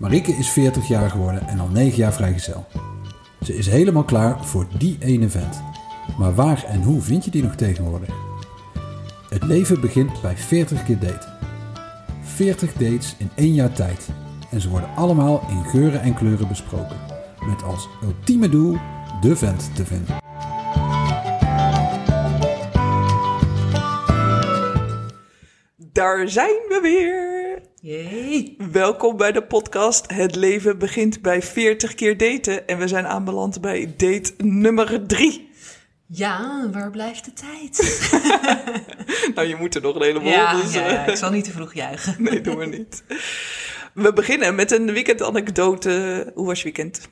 Marieke is 40 jaar geworden en al 9 jaar vrijgezel. Ze is helemaal klaar voor die ene vent. Maar waar en hoe vind je die nog tegenwoordig? Het leven begint bij 40 keer daten. 40 dates in één jaar tijd. En ze worden allemaal in geuren en kleuren besproken. Met als ultieme doel de vent te vinden. Daar zijn we weer. Jee. Welkom bij de podcast Het leven begint bij 40 keer daten. En we zijn aanbeland bij date nummer 3. Ja, waar blijft de tijd? Nou, je moet er nog een heleboel. ja, dus, ja, eh, ja, ik zal niet te vroeg juichen. Nee, doen we niet. We beginnen met een weekendanekdote. Hoe was je weekend?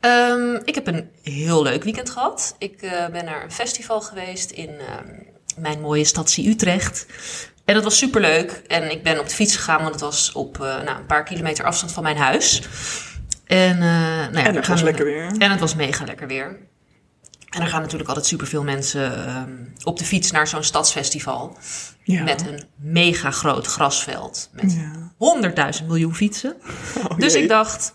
Ehm, ik heb een heel leuk weekend gehad. Ik eh, ben naar een festival geweest in ehm, mijn mooie stadsie Utrecht. En dat was superleuk. En ik ben op de fiets gegaan, want het was op eh, nou, een paar kilometer afstand van mijn huis. En, eh, nou ja, En het daar was lekker weer. En het was mega lekker weer. En er gaan natuurlijk altijd superveel mensen ehm, op de fiets naar zo'n stadsfestival. Ja. Met een mega groot grasveld. Met Ja. 100.000 miljoen fietsen. Oh dus ik dacht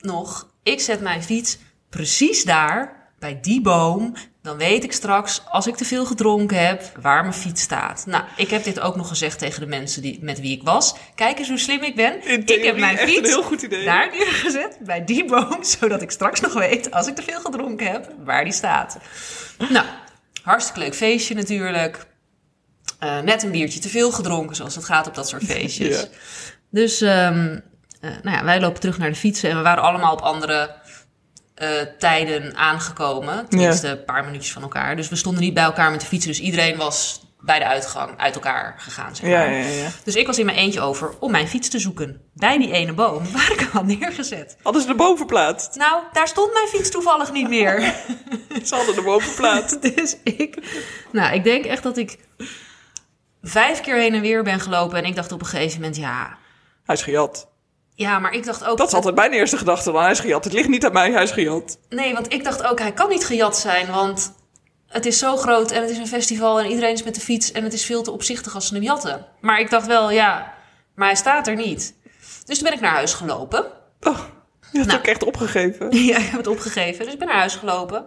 nog, ik zet mijn fiets precies daar, bij die boom. Dan weet ik straks, als ik te veel gedronken heb, waar mijn fiets staat. Nou, ik heb dit ook nog gezegd tegen de mensen die, met wie ik was. Kijk eens hoe slim ik ben. In ik theorie heb mijn echt een fiets heel goed idee. daar neergezet, bij die boom. Zodat ik straks nog weet, als ik te veel gedronken heb, waar die staat. Nou, hartstikke leuk feestje natuurlijk. Eh, net een biertje te veel gedronken, zoals het gaat op dat soort feestjes. Ja. Dus ehm, eh, nou ja, wij lopen terug naar de fietsen en we waren allemaal op andere eh, tijden aangekomen. Tenminste, een paar minuutjes van elkaar. Dus we stonden niet bij elkaar met de fietsen. Dus iedereen was bij de uitgang uit elkaar gegaan. Zeg maar. Ja, ja, ja. Dus ik was in mijn eentje over om mijn fiets te zoeken. Bij die ene boom waar ik hem had neergezet. Hadden ze erboven verplaatst? Nou, daar stond mijn fiets toevallig niet meer. Oh, Ze hadden erboven verplaatst. Dus ik, nou, ik denk echt dat ik vijf keer heen en weer ben gelopen. En ik dacht op een gegeven moment, ja, Hij is gejat. ja, maar ik dacht ook. Dat is altijd mijn eerste gedachte dan. Hij is gejat. Het ligt niet aan mij, hij is gejat. Nee, want ik dacht ook, hij kan niet gejat zijn, want het is zo groot en het is een festival en iedereen is met de fiets en het is veel te opzichtig als ze hem jatten. Maar ik dacht wel, ja, maar hij staat er niet. Dus toen ben ik naar huis gelopen. Oh, je had Nou. ook echt opgegeven. Ja, ik heb het opgegeven. Dus ik ben naar huis gelopen.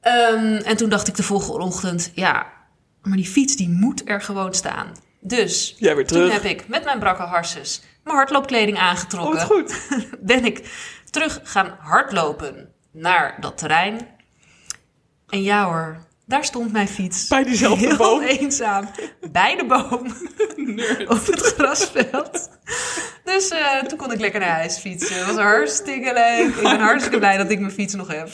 Ehm, en toen dacht ik de volgende ochtend, ja, maar die fiets die moet er gewoon staan. Dus Jij weer toen terug. heb ik met mijn brakke harses mijn hardloopkleding Oh, aangetrokken. wat goed. ben ik terug gaan hardlopen naar dat terrein. En ja hoor, daar stond mijn fiets. Bij diezelfde Heel boom. eenzaam. Bij de boom. Op het grasveld. Dus eh, toen kon ik lekker naar huis fietsen. Dat was hartstikke leuk. Ik ben hartstikke blij dat ik mijn fiets nog heb.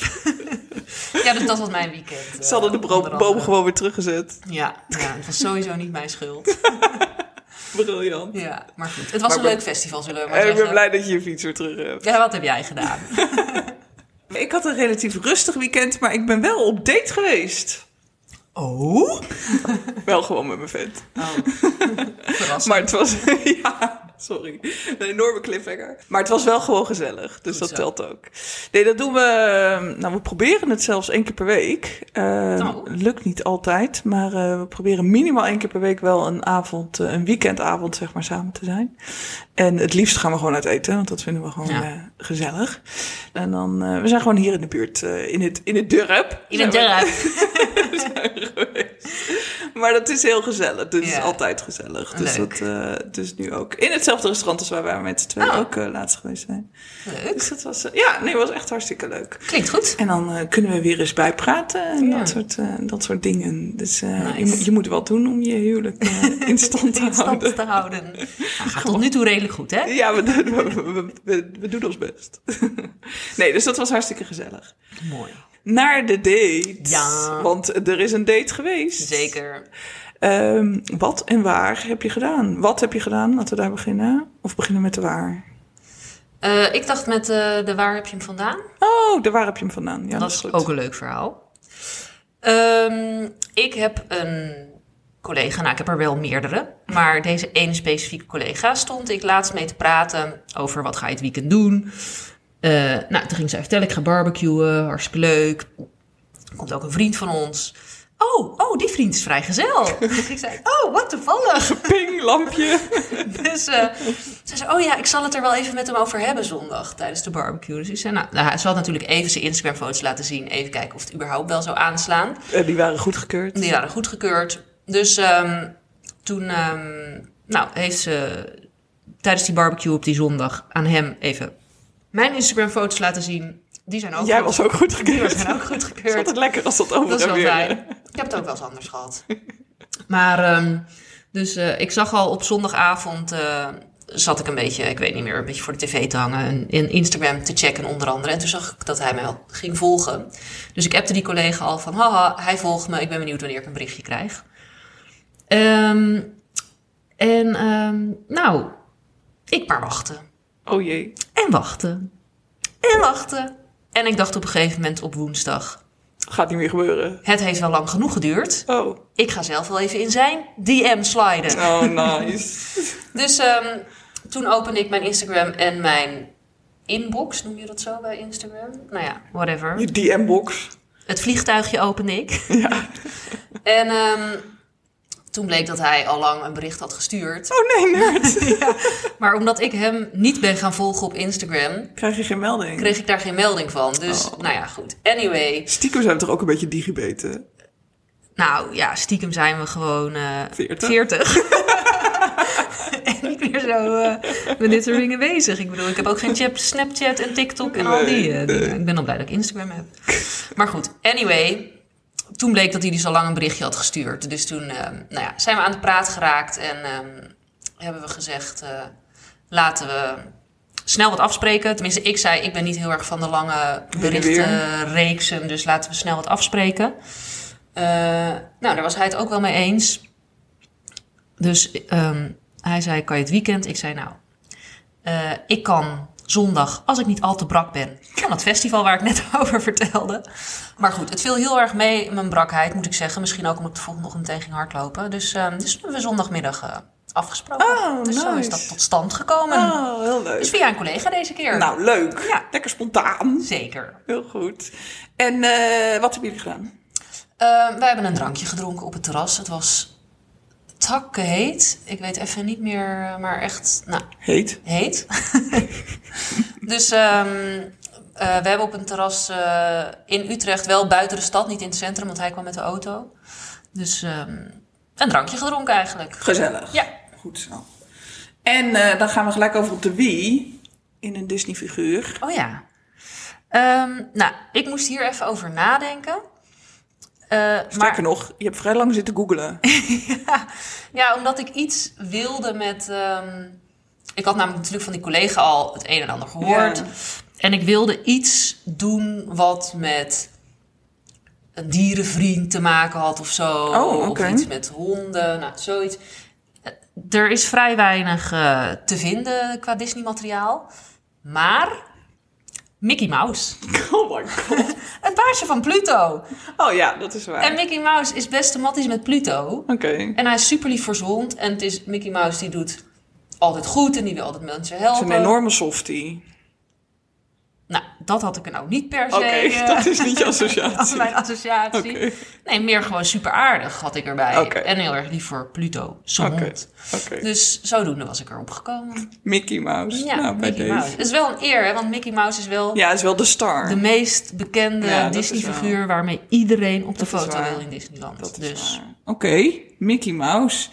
ja, dus dat was mijn weekend. eh, Ze hadden de bro- onder andere. boom gewoon weer teruggezet. Ja, ja, het was sowieso niet mijn schuld. Briljant. Ja, maar goed. Het was Maar een ik ben- leuk festival, zullen we maar En ik zeggen. ben blij dat je je fiets weer terug hebt. Ja, wat heb jij gedaan? Ik had een relatief rustig weekend, maar ik ben wel op date geweest. Oh? Wel gewoon met mijn vent. Oh. Verrassend. Maar het was... ja, sorry. Een enorme cliffhanger. Maar het was wel gewoon gezellig. Dus dat zo. telt ook. Nee, dat doen we... eh, Nou, we proberen het zelfs één keer per week. Eh, Oh. Lukt niet altijd. Maar eh, we proberen minimaal één keer per week wel een avond... eh, een weekendavond, zeg maar, samen te zijn. En het liefst gaan we gewoon uit eten. Want dat vinden we gewoon Ja. eh, gezellig. En dan... eh, we zijn gewoon hier in de buurt. eh, in, het, in het dorp. In het Zijn we- dorp. geweest. Maar dat is heel gezellig. Dus Ja. is altijd gezellig. Dus, Leuk. dat, eh, dus nu ook. In hetzelfde restaurant als waar wij met z'n tweeën Oh. ook eh, laatst geweest zijn. Leuk. Dus dat was, eh, ja, nee, was echt hartstikke leuk. Klinkt goed. En dan eh, kunnen we weer eens bijpraten en Ja. dat, soort, eh, dat soort dingen. Dus eh, je, Nice. moet- je moet wat doen om je huwelijk eh, in stand te houden. In stand te houden. Nou, gaat tot nu toe redelijk goed, hè? Ja, we, doen- we- we- we- we doen ons best. nee, dus dat was hartstikke gezellig. Mooi. Naar de date. Ja. Want er is een date geweest. Zeker. Ehm, wat en waar heb je gedaan? Wat heb je gedaan? Laten we daar beginnen. Of beginnen met de waar? Eh, ik dacht met eh, de waar heb je hem vandaan? Oh, de waar heb je hem vandaan. Ja, dat, dat is is goed. ook een leuk verhaal. Ehm, ik heb een collega, nou ik heb er wel meerdere, maar deze ene specifieke collega stond ik laatst mee te praten over wat ga je het weekend doen. Eh, nou, toen ging zij vertellen, ik ga barbecuen, hartstikke leuk. Er komt ook een vriend van ons. Oh, oh, die vriend is vrijgezel. ik zei, oh, wat toevallig. Ping, lampje. Dus eh, Ze zei, oh ja, ik zal het er wel even met hem over hebben zondag tijdens de barbecue. Dus ik zei, nou, nou, ze had natuurlijk even zijn Instagram-foto's laten zien. Even kijken of het überhaupt wel zou aanslaan. Eh, die waren goedgekeurd. Die waren goedgekeurd. Dus ehm, toen ehm, nou, heeft ze tijdens die barbecue op die zondag aan hem even mijn Instagram-foto's laten zien. Die zijn ook, Jij goed- was ook die goedgekeurd. zijn ook Het is goedgekeurd. altijd lekker als dat over Dat is en wel weer. fijn. Ik heb het ook wel eens anders gehad. Maar, ehm, dus eh, ik zag al op zondagavond. eh, zat ik een beetje, ik weet niet meer, een beetje voor de tv te hangen. En, en Instagram te checken, onder andere. En toen zag ik dat hij mij al ging volgen. Dus ik appte die collega al van. Haha, hij volgt me. Ik ben benieuwd wanneer ik een berichtje krijg. Ehm, en, ehm, nou, ik maar wachten. Oh jee. En wachten. En wachten. En ik dacht op een gegeven moment op woensdag. Gaat niet meer gebeuren. Het heeft wel lang genoeg geduurd. Oh. Ik ga zelf wel even in zijn DM sliden. Oh, nice. Dus ehm, toen opende ik mijn Instagram en mijn inbox, noem je dat zo bij Instagram? Nou ja, whatever. Je DM-box. Het vliegtuigje opende ik. Ja. En ehm, toen bleek dat hij al lang een bericht had gestuurd. Oh nee, nerd. Maar omdat ik hem niet ben gaan volgen op Instagram, Krijg je geen melding? kreeg ik daar geen melding van. Dus Oh. nou ja, goed. Anyway. Stiekem zijn we toch ook een beetje digibeten? Nou ja, stiekem zijn we gewoon eh, 40. 40. en niet meer zo eh, met dit soort dingen bezig. Ik bedoel, ik heb ook geen chap- Snapchat en TikTok en al die Nee, eh, dingen. Ik ben al blij dat ik Instagram heb. Maar goed, anyway. Toen bleek dat hij dus al lang een berichtje had gestuurd. Dus toen eh, nou ja, zijn we aan de praat geraakt en ehm, hebben we gezegd... eh, laten we snel wat afspreken. Tenminste, ik zei, ik ben niet heel erg van de lange Heen en weer. berichtenreeksen. Dus laten we snel wat afspreken. Eh, nou, daar was hij het ook wel mee eens. Dus ehm, hij zei, kan je het weekend? Ik zei, nou, eh, ik kan zondag, als ik niet al te brak ben, kan dat festival waar ik net over vertelde. Maar goed, het viel heel erg mee, mijn brakheid, moet ik zeggen. Misschien ook omdat ik de volgende ochtend meteen ging hardlopen. Dus, ehm, dus hebben we zondagmiddag eh, afgesproken. Ah, dus zo is nice. dat tot stand gekomen. Oh, heel leuk. Dus via een collega deze keer. Nou, leuk. Ja. Lekker spontaan. Zeker. Heel goed. En eh, wat hebben jullie gedaan? Ehm, wij hebben een drankje gedronken op het terras. Het was takkenheet. Ik weet even niet meer, eh, maar echt, nou, Heet. heet. dus ehm, eh, we hebben op een terras eh, in Utrecht, wel buiten de stad, niet in het centrum, want hij kwam met de auto. Dus ehm, een drankje gedronken eigenlijk. Gezellig. Ja. Goed zo. En eh, dan gaan we gelijk over op de Wii. In een Disney-figuur. Oh ja. Ehm, nou, ik moest hier even over nadenken. Eh, maar Sterker nog, je hebt vrij lang zitten googelen. ja, omdat ik iets wilde met. ehm, ik had namelijk natuurlijk van die collega al het een en ander gehoord. Ja. En ik wilde iets doen wat met een dierenvriend te maken had of zo. Oh, oké. Of iets met honden, nou, zoiets. Eh, Er is vrij weinig eh, te vinden qua Disney-materiaal. Maar Mickey Mouse. Oh my god. Het baasje van Pluto. Oh ja, dat is waar. En Mickey Mouse is best thematisch met Pluto. Oké. En hij is super lief voor zijn hond. En het is Mickey Mouse die doet altijd goed en die wil altijd mensen Het helpen. is een enorme softie. Nou, dat had ik er nou niet per se Oké, eh, dat is niet je als associatie. mijn associatie. Oké. Nee, meer gewoon super aardig had ik erbij. Oké. En heel erg lief voor Pluto, zijn Oké. hond. Oké. Dus zodoende was ik erop gekomen. Mickey Mouse. Ja, nou, bij Mickey deze. Mouse. Het is wel een eer, hè, want Mickey Mouse is wel Ja, hij is wel de star. de meest bekende Ja, dat is Disney-figuur... waarmee iedereen op de Dat is foto waar. wil in Disneyland. Dat is dus waar. Oké, Mickey Mouse.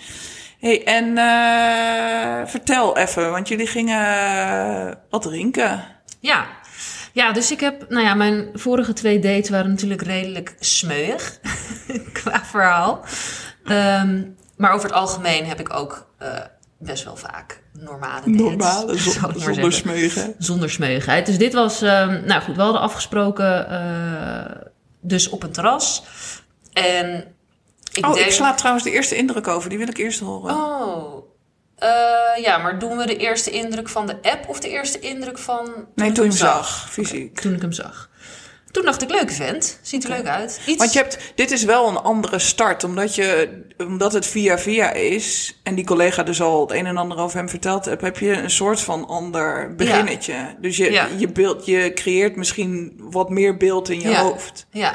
hey, en eh, vertel even, want jullie gingen eh, wat drinken. Ja. ja, dus ik heb, nou ja, mijn vorige twee dates waren natuurlijk redelijk smeuig qua verhaal. Ehm, maar over het algemeen heb ik ook eh, best wel vaak normale dates. Normale, zou ik maar zon, zonder zeggen. smeugen. Zonder smeuigheid. Dus dit was, ehm, nou goed, we hadden afgesproken, eh, dus op een terras. En ik oh, denk... ik sla trouwens de eerste indruk over, die wil ik eerst horen. Oh, Eh, ja, maar doen we de eerste indruk van de app of de eerste indruk van... nee, ik toen je hem hem zag, fysiek. toen ik hem zag. Toen dacht ik, leuke vent. Ziet er leuk uit. Iets... Want je hebt, dit is wel een andere start, omdat, je, omdat het via via is en die collega dus al het een en ander over hem verteld hebt, heb je een soort van ander beginnetje. Dus je, Ja. je, beeld, je creëert misschien wat meer beeld in je Ja. hoofd. Ja.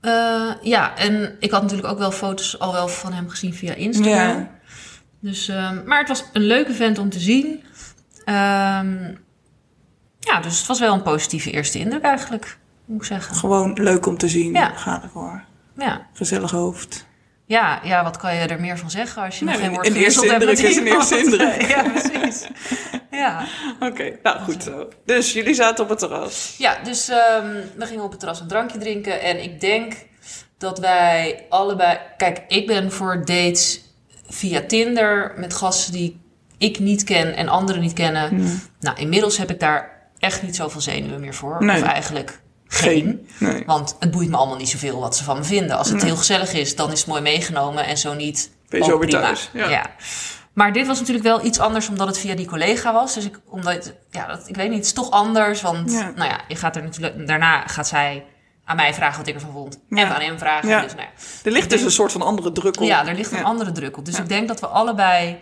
Eh, ja, en ik had natuurlijk ook wel foto's al wel van hem gezien via Instagram. Ja. Dus, ehm, maar het was een leuke vent om te zien. Ehm, ja, dus het was wel een positieve eerste indruk eigenlijk, moet ik zeggen. Gewoon leuk om te zien. Ja. Ga ervoor. Ja. Gezellig hoofd. Ja, ja, wat kan je er meer van zeggen als je nog Nee, geen woord een eerste gewisseld hebt indruk met is een iemand? eerste indruk. Ja, precies. Ja. Oké, nou goed zo. Dus jullie zaten op het terras. Ja, dus ehm, we gingen op het terras een drankje drinken. En ik denk dat wij allebei. Kijk, ik ben voor dates via Tinder met gasten die ik niet ken en anderen niet kennen. Nou, inmiddels heb ik daar echt niet zoveel zenuwen meer voor. Nee. Of eigenlijk geen. Nee. Want het boeit me allemaal niet zoveel wat ze van me vinden. Als het heel gezellig is, dan is het mooi meegenomen. En zo niet, Ben je zo ook weer prima. thuis, ja. Maar dit was natuurlijk wel iets anders omdat het via die collega was. Dus ik, omdat, ja, dat, ik weet niet, het is toch anders. Want Ja. nou ja, je gaat er natuurlijk, daarna gaat zij aan mij vragen wat ik ervan vond. Ja. En aan hem vragen. Ja. Dus, nou ja. Er ligt dus een soort van andere druk op. Ja, er ligt een Ja. andere druk op. Dus ik denk dat we allebei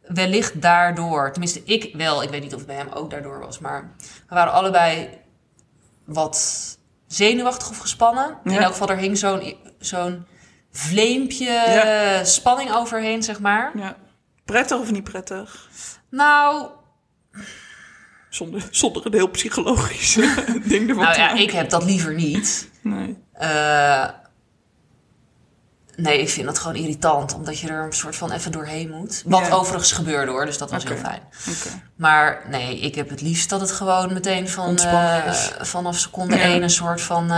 wellicht daardoor, tenminste ik wel, ik weet niet of het bij hem ook daardoor was, maar we waren allebei wat zenuwachtig of gespannen. Ja. In elk geval, er hing zo'n zo'n vleempje Ja. eh, spanning overheen, zeg maar. Ja. Prettig of niet prettig? Nou, Zonder, zonder een heel psychologisch ding ervan nou te ja, maken. ik heb dat liever niet. Nee. Eh, nee, ik vind dat gewoon irritant, omdat je er een soort van even doorheen moet. Wat Ja. overigens gebeurde hoor, dus dat was heel Oké. fijn. Oké. Maar nee, ik heb het liefst dat het gewoon meteen van, Ontspannen eh, is. vanaf seconde Ja. één een soort van... eh,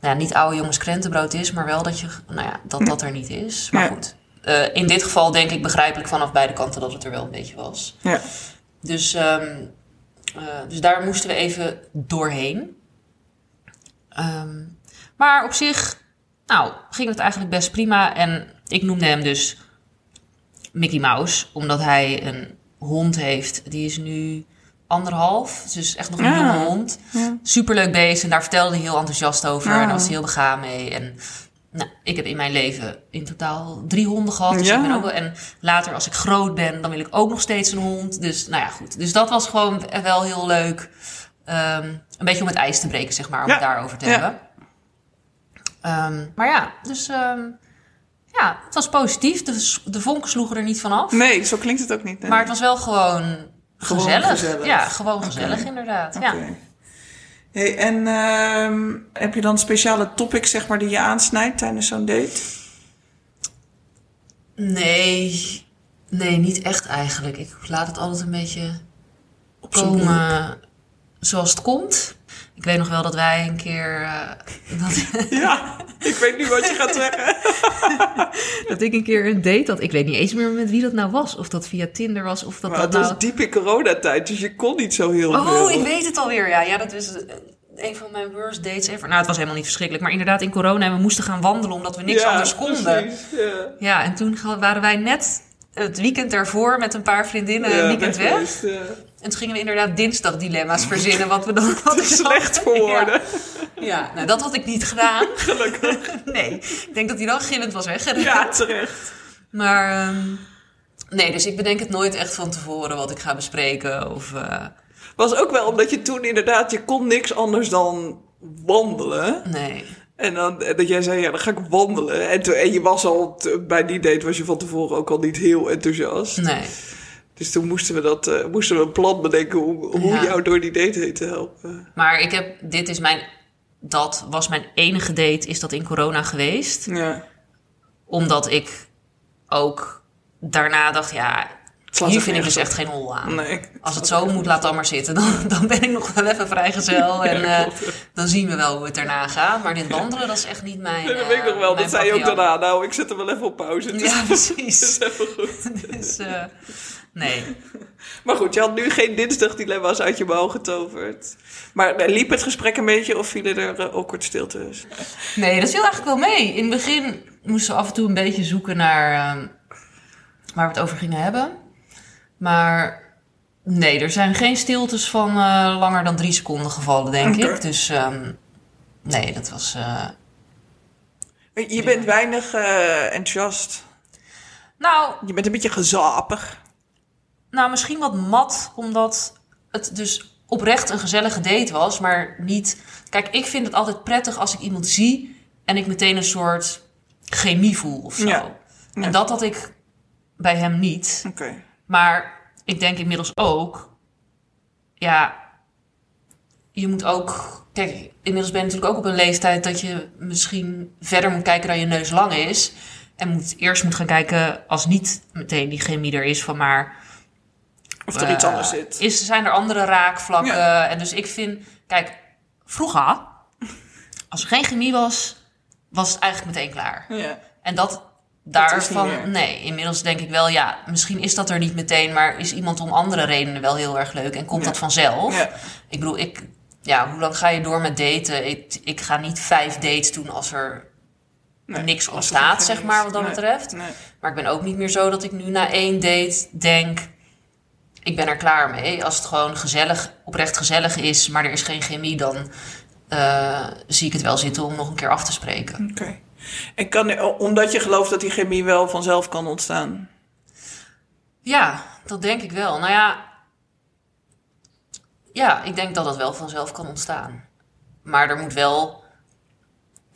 nou ja, niet oude jongens krentenbrood is, maar wel dat, je, nou ja, dat dat er niet is. Maar Ja. goed, Eh, in dit geval denk ik begrijpelijk vanaf beide kanten dat het er wel een beetje was. Ja. Dus, ehm, eh, dus daar moesten we even doorheen. Ehm, maar op zich, nou, ging het eigenlijk best prima. En ik noemde hem dus Mickey Mouse, omdat hij een hond heeft. Die is nu anderhalf, dus echt nog een Ah. jonge hond. Ja. Superleuk beest en daar vertelde hij heel enthousiast over. En Ah. daar was hij heel begaan mee. En nou, ik heb in mijn leven in totaal drie honden gehad. Dus Ja. ik ben ook wel, en later als ik groot ben, dan wil ik ook nog steeds een hond. Dus nou ja, goed. Dus dat was gewoon wel heel leuk. Ehm, een beetje om het ijs te breken, zeg maar, om Ja. het daarover te Ja. hebben. Ehm, maar ja, dus ehm, ja, het was positief. De, de vonken sloegen er niet van af. Nee, zo klinkt het ook niet. nee. Maar het was wel gewoon, Gewoon gezellig. gezellig. Ja, gewoon gezellig inderdaad. Ja. Oké. Hey, en ehm, heb je dan speciale topics zeg maar, die je aansnijdt tijdens zo'n date? Nee, nee, niet echt eigenlijk. Ik laat het altijd een beetje Op zo'n komen zoals het komt. Ik weet nog wel dat wij een keer. eh, dat, Ja, ik weet nu wat je gaat zeggen. dat ik een keer een date had. Ik weet niet eens meer met wie dat nou was. Of dat via Tinder was. Of dat Maar dat het nou. was diep in coronatijd, dus je kon niet zo heel veel. Oh, ik weet het alweer. Ja, ja dat is eh, een van mijn worst dates ever. Nou, het was helemaal niet verschrikkelijk. Maar inderdaad, in corona en we moesten gaan wandelen omdat we niks Ja, anders konden. precies, ja. Ja, en toen ga- waren wij net het weekend daarvoor met een paar vriendinnen Ja, eh, een eh, weekend weg weg. geweest, ja. En toen gingen we inderdaad dinsdag dilemma's verzinnen. Wat we dan wat Te ik dan- slecht voor woorden, Ja, ja nou, dat had ik niet gedaan. gelukkig. Nee, ik denk dat hij dan gillend was weggerend. Ja, terecht. Maar ehm, nee, dus ik bedenk het nooit echt van tevoren wat ik ga bespreken. Of, eh, Was ook wel omdat je toen inderdaad, je kon niks anders dan wandelen. nee. En dan, en dat jij zei, ja, dan ga ik wandelen. En, toen, en je was al, t- bij die date was je van tevoren ook al niet heel enthousiast. Nee. Dus toen moesten we, dat, eh, moesten we een plan bedenken hoe, hoe Ja. jou door die date heen te helpen. Maar ik heb, dit is mijn, dat was mijn enige date, is dat in corona geweest. Ja. Omdat ik ook daarna dacht, ja, slaat hier echt vind ik dus nergens echt geen hol aan. Nee. Als het zo moet, laat dan maar zitten. Dan, dan ben ik nog wel even vrijgezel. En eh, dan zien we wel hoe het daarna gaat. Maar dit wandelen, dat is echt niet mijn. Nee, dat eh, weet ik nog wel. mijn Dat zei je ook papillon. daarna. Nou, ik zet hem wel even op pauze. Het is- Ja, het is precies. even goed. Dus, eh, nee. Maar goed, je had nu geen dinsdag dilemma's uit je mouw getoverd. Maar eh, liep het gesprek een beetje of vielen er ook awkward stilte tussen? nee, dat viel eigenlijk wel mee. In het begin moesten we af en toe een beetje zoeken naar eh, waar we het over gingen hebben. Maar nee, er zijn geen stiltes van eh, langer dan drie seconden gevallen, denk Oké. ik. Dus ehm, nee, dat was. eh, Je bent weinig eh, enthousiast. nou, Je bent een beetje gezapig. Nou, misschien wat mat, omdat het dus oprecht een gezellige date was, maar niet. Kijk, ik vind het altijd prettig als ik iemand zie en ik meteen een soort chemie voel of zo. Ja. Ja. En dat had ik bij hem niet. Oké. Maar ik denk inmiddels ook, ja, je moet ook. Kijk, inmiddels ben je natuurlijk ook op een leeftijd dat je misschien verder moet kijken dan je neus lang is. En moet, eerst moet gaan kijken, als niet meteen die chemie er is, van maar Of er eh, iets anders zit. Is, zijn er andere raakvlakken? Ja. En dus ik vind, kijk, vroeger, als er geen chemie was, was het eigenlijk meteen klaar. Ja. En dat is niet meer. daarvan, nee, inmiddels denk ik wel, ja, misschien is dat er niet meteen, maar is iemand om andere redenen wel heel erg leuk en komt Ja. dat vanzelf? Ja. Ik bedoel, ik, ja, hoe lang ga je door met daten? Ik, ik ga niet vijf dates doen als er, Nee. niks Als ontstaat, er geen zeg is. maar, wat dat Nee. betreft. Nee. maar ik ben ook niet meer zo dat ik nu na één date denk, ik ben er klaar mee. Als het gewoon gezellig, oprecht gezellig is, maar er is geen chemie, dan eh, zie ik het wel zitten om nog een keer af te spreken. Oké. En kan, omdat je gelooft dat die chemie wel vanzelf kan ontstaan. Ja, dat denk ik wel. Nou ja, ja, ik denk dat dat wel vanzelf kan ontstaan. Maar er moet wel,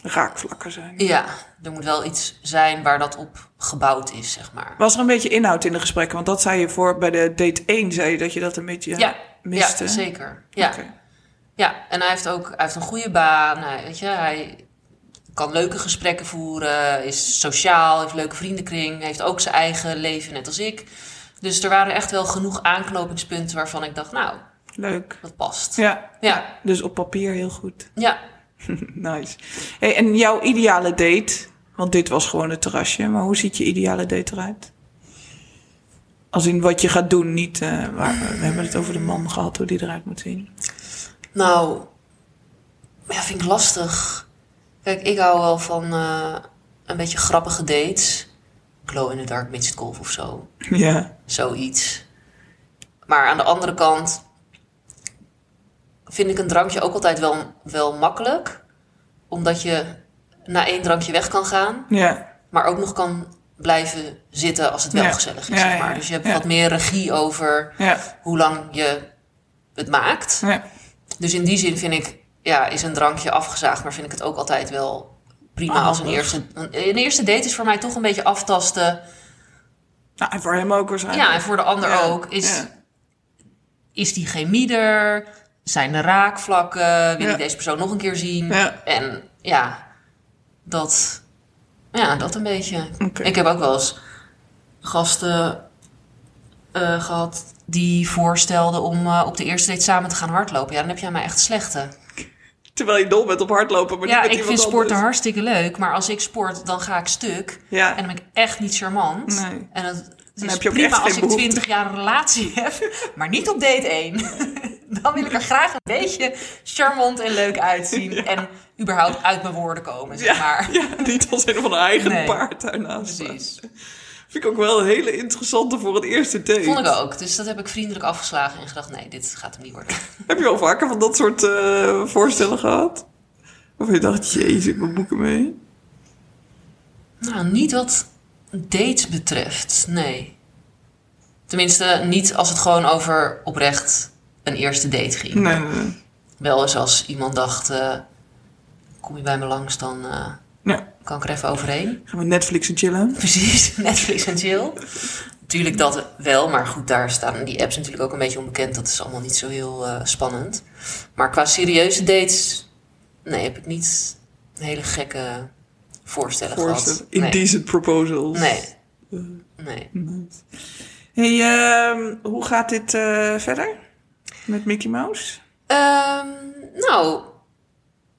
Raakvlakken zijn. ja, er moet wel iets zijn waar dat op gebouwd is, zeg maar. Was er een beetje inhoud in de gesprekken? Want dat zei je voor bij de date 1, zei je dat je dat een beetje Ja, miste. ja zeker. Ja. Oké. ja, en hij heeft ook hij heeft een goede baan. Hij, weet je, hij kan leuke gesprekken voeren, is sociaal, heeft een leuke vriendenkring, heeft ook zijn eigen leven, net als ik. Dus er waren echt wel genoeg aanknopingspunten waarvan ik dacht, nou, Leuk. dat past. Ja, ja. dus op papier heel goed. ja. nice. Hey, en jouw ideale date, want dit was gewoon het terrasje, maar hoe ziet je ideale date eruit? Als in wat je gaat doen, niet eh, waar we, we hebben het over de man gehad, hoe die eruit moet zien. Nou, ja, vind ik lastig. Kijk, ik hou wel van eh, een beetje grappige dates. Glow in the dark midget golf of zo. Ja, Zoiets. Maar aan de andere kant vind ik een drankje ook altijd wel, wel makkelijk. Omdat je na één drankje weg kan gaan. ja, Maar ook nog kan blijven zitten als het wel Ja. gezellig is. Ja, zeg maar. ja, Dus je hebt ja. wat meer regie over ja, hoe lang je het maakt. ja. Dus in die zin vind ik, ja, is een drankje afgezaagd, maar vind ik het ook altijd wel prima Ah, als een handig. eerste. want Een eerste date is voor mij toch een beetje aftasten. Nou, en voor hem ook waarschijnlijk. Ja, en voor de ander Ja, ook. Is, ja. is die chemie er? Zijn er raakvlakken? Wil Ja. ik deze persoon nog een keer zien? Ja. En ja, dat, ja, dat een beetje. Oké. Ik heb ook wel eens gasten eh, gehad die voorstelden om eh, op de eerste date samen te gaan hardlopen. Ja, dan heb jij mij echt slechte. Terwijl je dol bent op hardlopen, maar Ja, niet met ik vind iemand sporten anders. hartstikke leuk, maar als ik sport, dan ga ik stuk. Ja. En dan ben ik echt niet charmant. Nee. En het, het is Dan heb je ook echt prima als geen ik behoefte. 20 jaar een relatie heb, maar niet op date 1. dan wil ik er graag een beetje charmant en leuk uitzien. En überhaupt uit mijn woorden komen, zeg maar. Ja, niet als een van een eigen Nee. paard daarnaast. Precies. Vind ik ook wel een hele interessante voor het eerste date. Vond ik ook. Dus dat heb ik vriendelijk afgeslagen en gedacht, nee, dit gaat hem niet worden. Heb je wel vaker van dat soort eh, voorstellen gehad? Of je dacht, jezus, mijn boeken mee. Nou, niet wat dates betreft, nee. Tenminste, niet als het gewoon over oprecht een eerste date ging. Nee, nee, nee. Wel eens als iemand dacht, eh, kom je bij me langs, dan eh, Nou, kan ik er even overheen. gaan we Netflix en chillen? Precies, Netflix en chill. Natuurlijk dat wel, maar goed, daar staan die apps natuurlijk ook een beetje onbekend. Dat is allemaal niet zo heel eh, spannend. Maar qua serieuze dates, nee, heb ik niet hele gekke voorstellen Voorstellen. gehad. Nee. Indecent proposals. Nee. Nee. Hey, ehm, hoe gaat dit eh, verder? Met Mickey Mouse? Ehm, nou,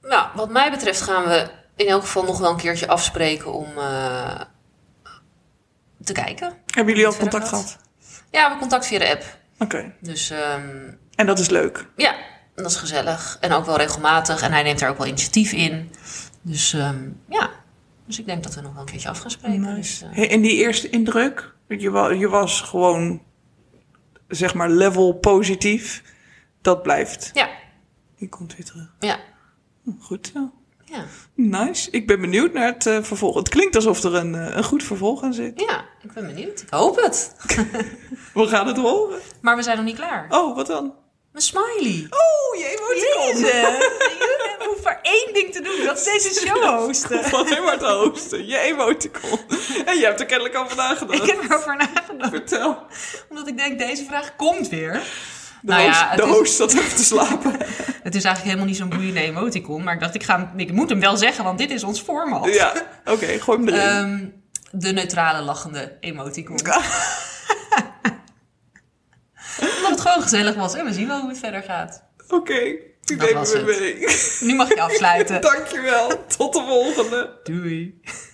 nou, wat mij betreft gaan we in elk geval nog wel een keertje afspreken om eh, te kijken. Hebben jullie al Verder contact wat? gehad? Ja, we hebben contact via de app. Oké. Dus ehm, En dat is leuk. ja, dat is gezellig. En ook wel regelmatig. En hij neemt daar ook wel initiatief in. Dus ehm, ja, dus ik denk dat we nog wel een keertje af gaan spreken. Dus, eh, Hey, en die eerste indruk? Je, wa- je was gewoon, zeg maar, level positief. Dat blijft. ja, Die komt weer terug. ja, Goed zo. ja, Nice. Ik ben benieuwd naar het eh, vervolg. Het klinkt alsof er een, eh, een goed vervolg aan zit. ja. Ik ben benieuwd. Ik hoop het. We gaan het horen. Maar we zijn nog niet klaar. Oh, wat dan? Mijn smiley. Oh, je emoticon. Jezus. Hoe hoeft maar één ding te doen. Dat is deze show hosten. Van alleen maar te hosten. Je emoticon. En je hebt er kennelijk al vandaag gedaan. Ik heb erover nagedacht. Vertel. Omdat ik denk, deze vraag komt weer. De, Nou ja, host, het de is- host zat even te slapen. Het is eigenlijk helemaal niet zo'n boeiende emoticon. Maar ik dacht, ik, ga, hem- ik moet hem wel zeggen, want dit is ons format. Ja, oké, gooi hem erin. Ehm, de neutrale lachende emoticon. Omdat het gewoon gezellig was. En we zien wel hoe het verder gaat. oké, ik dat neem was hem het. mee. Nu mag je afsluiten. Dankjewel. Tot de volgende. Doei.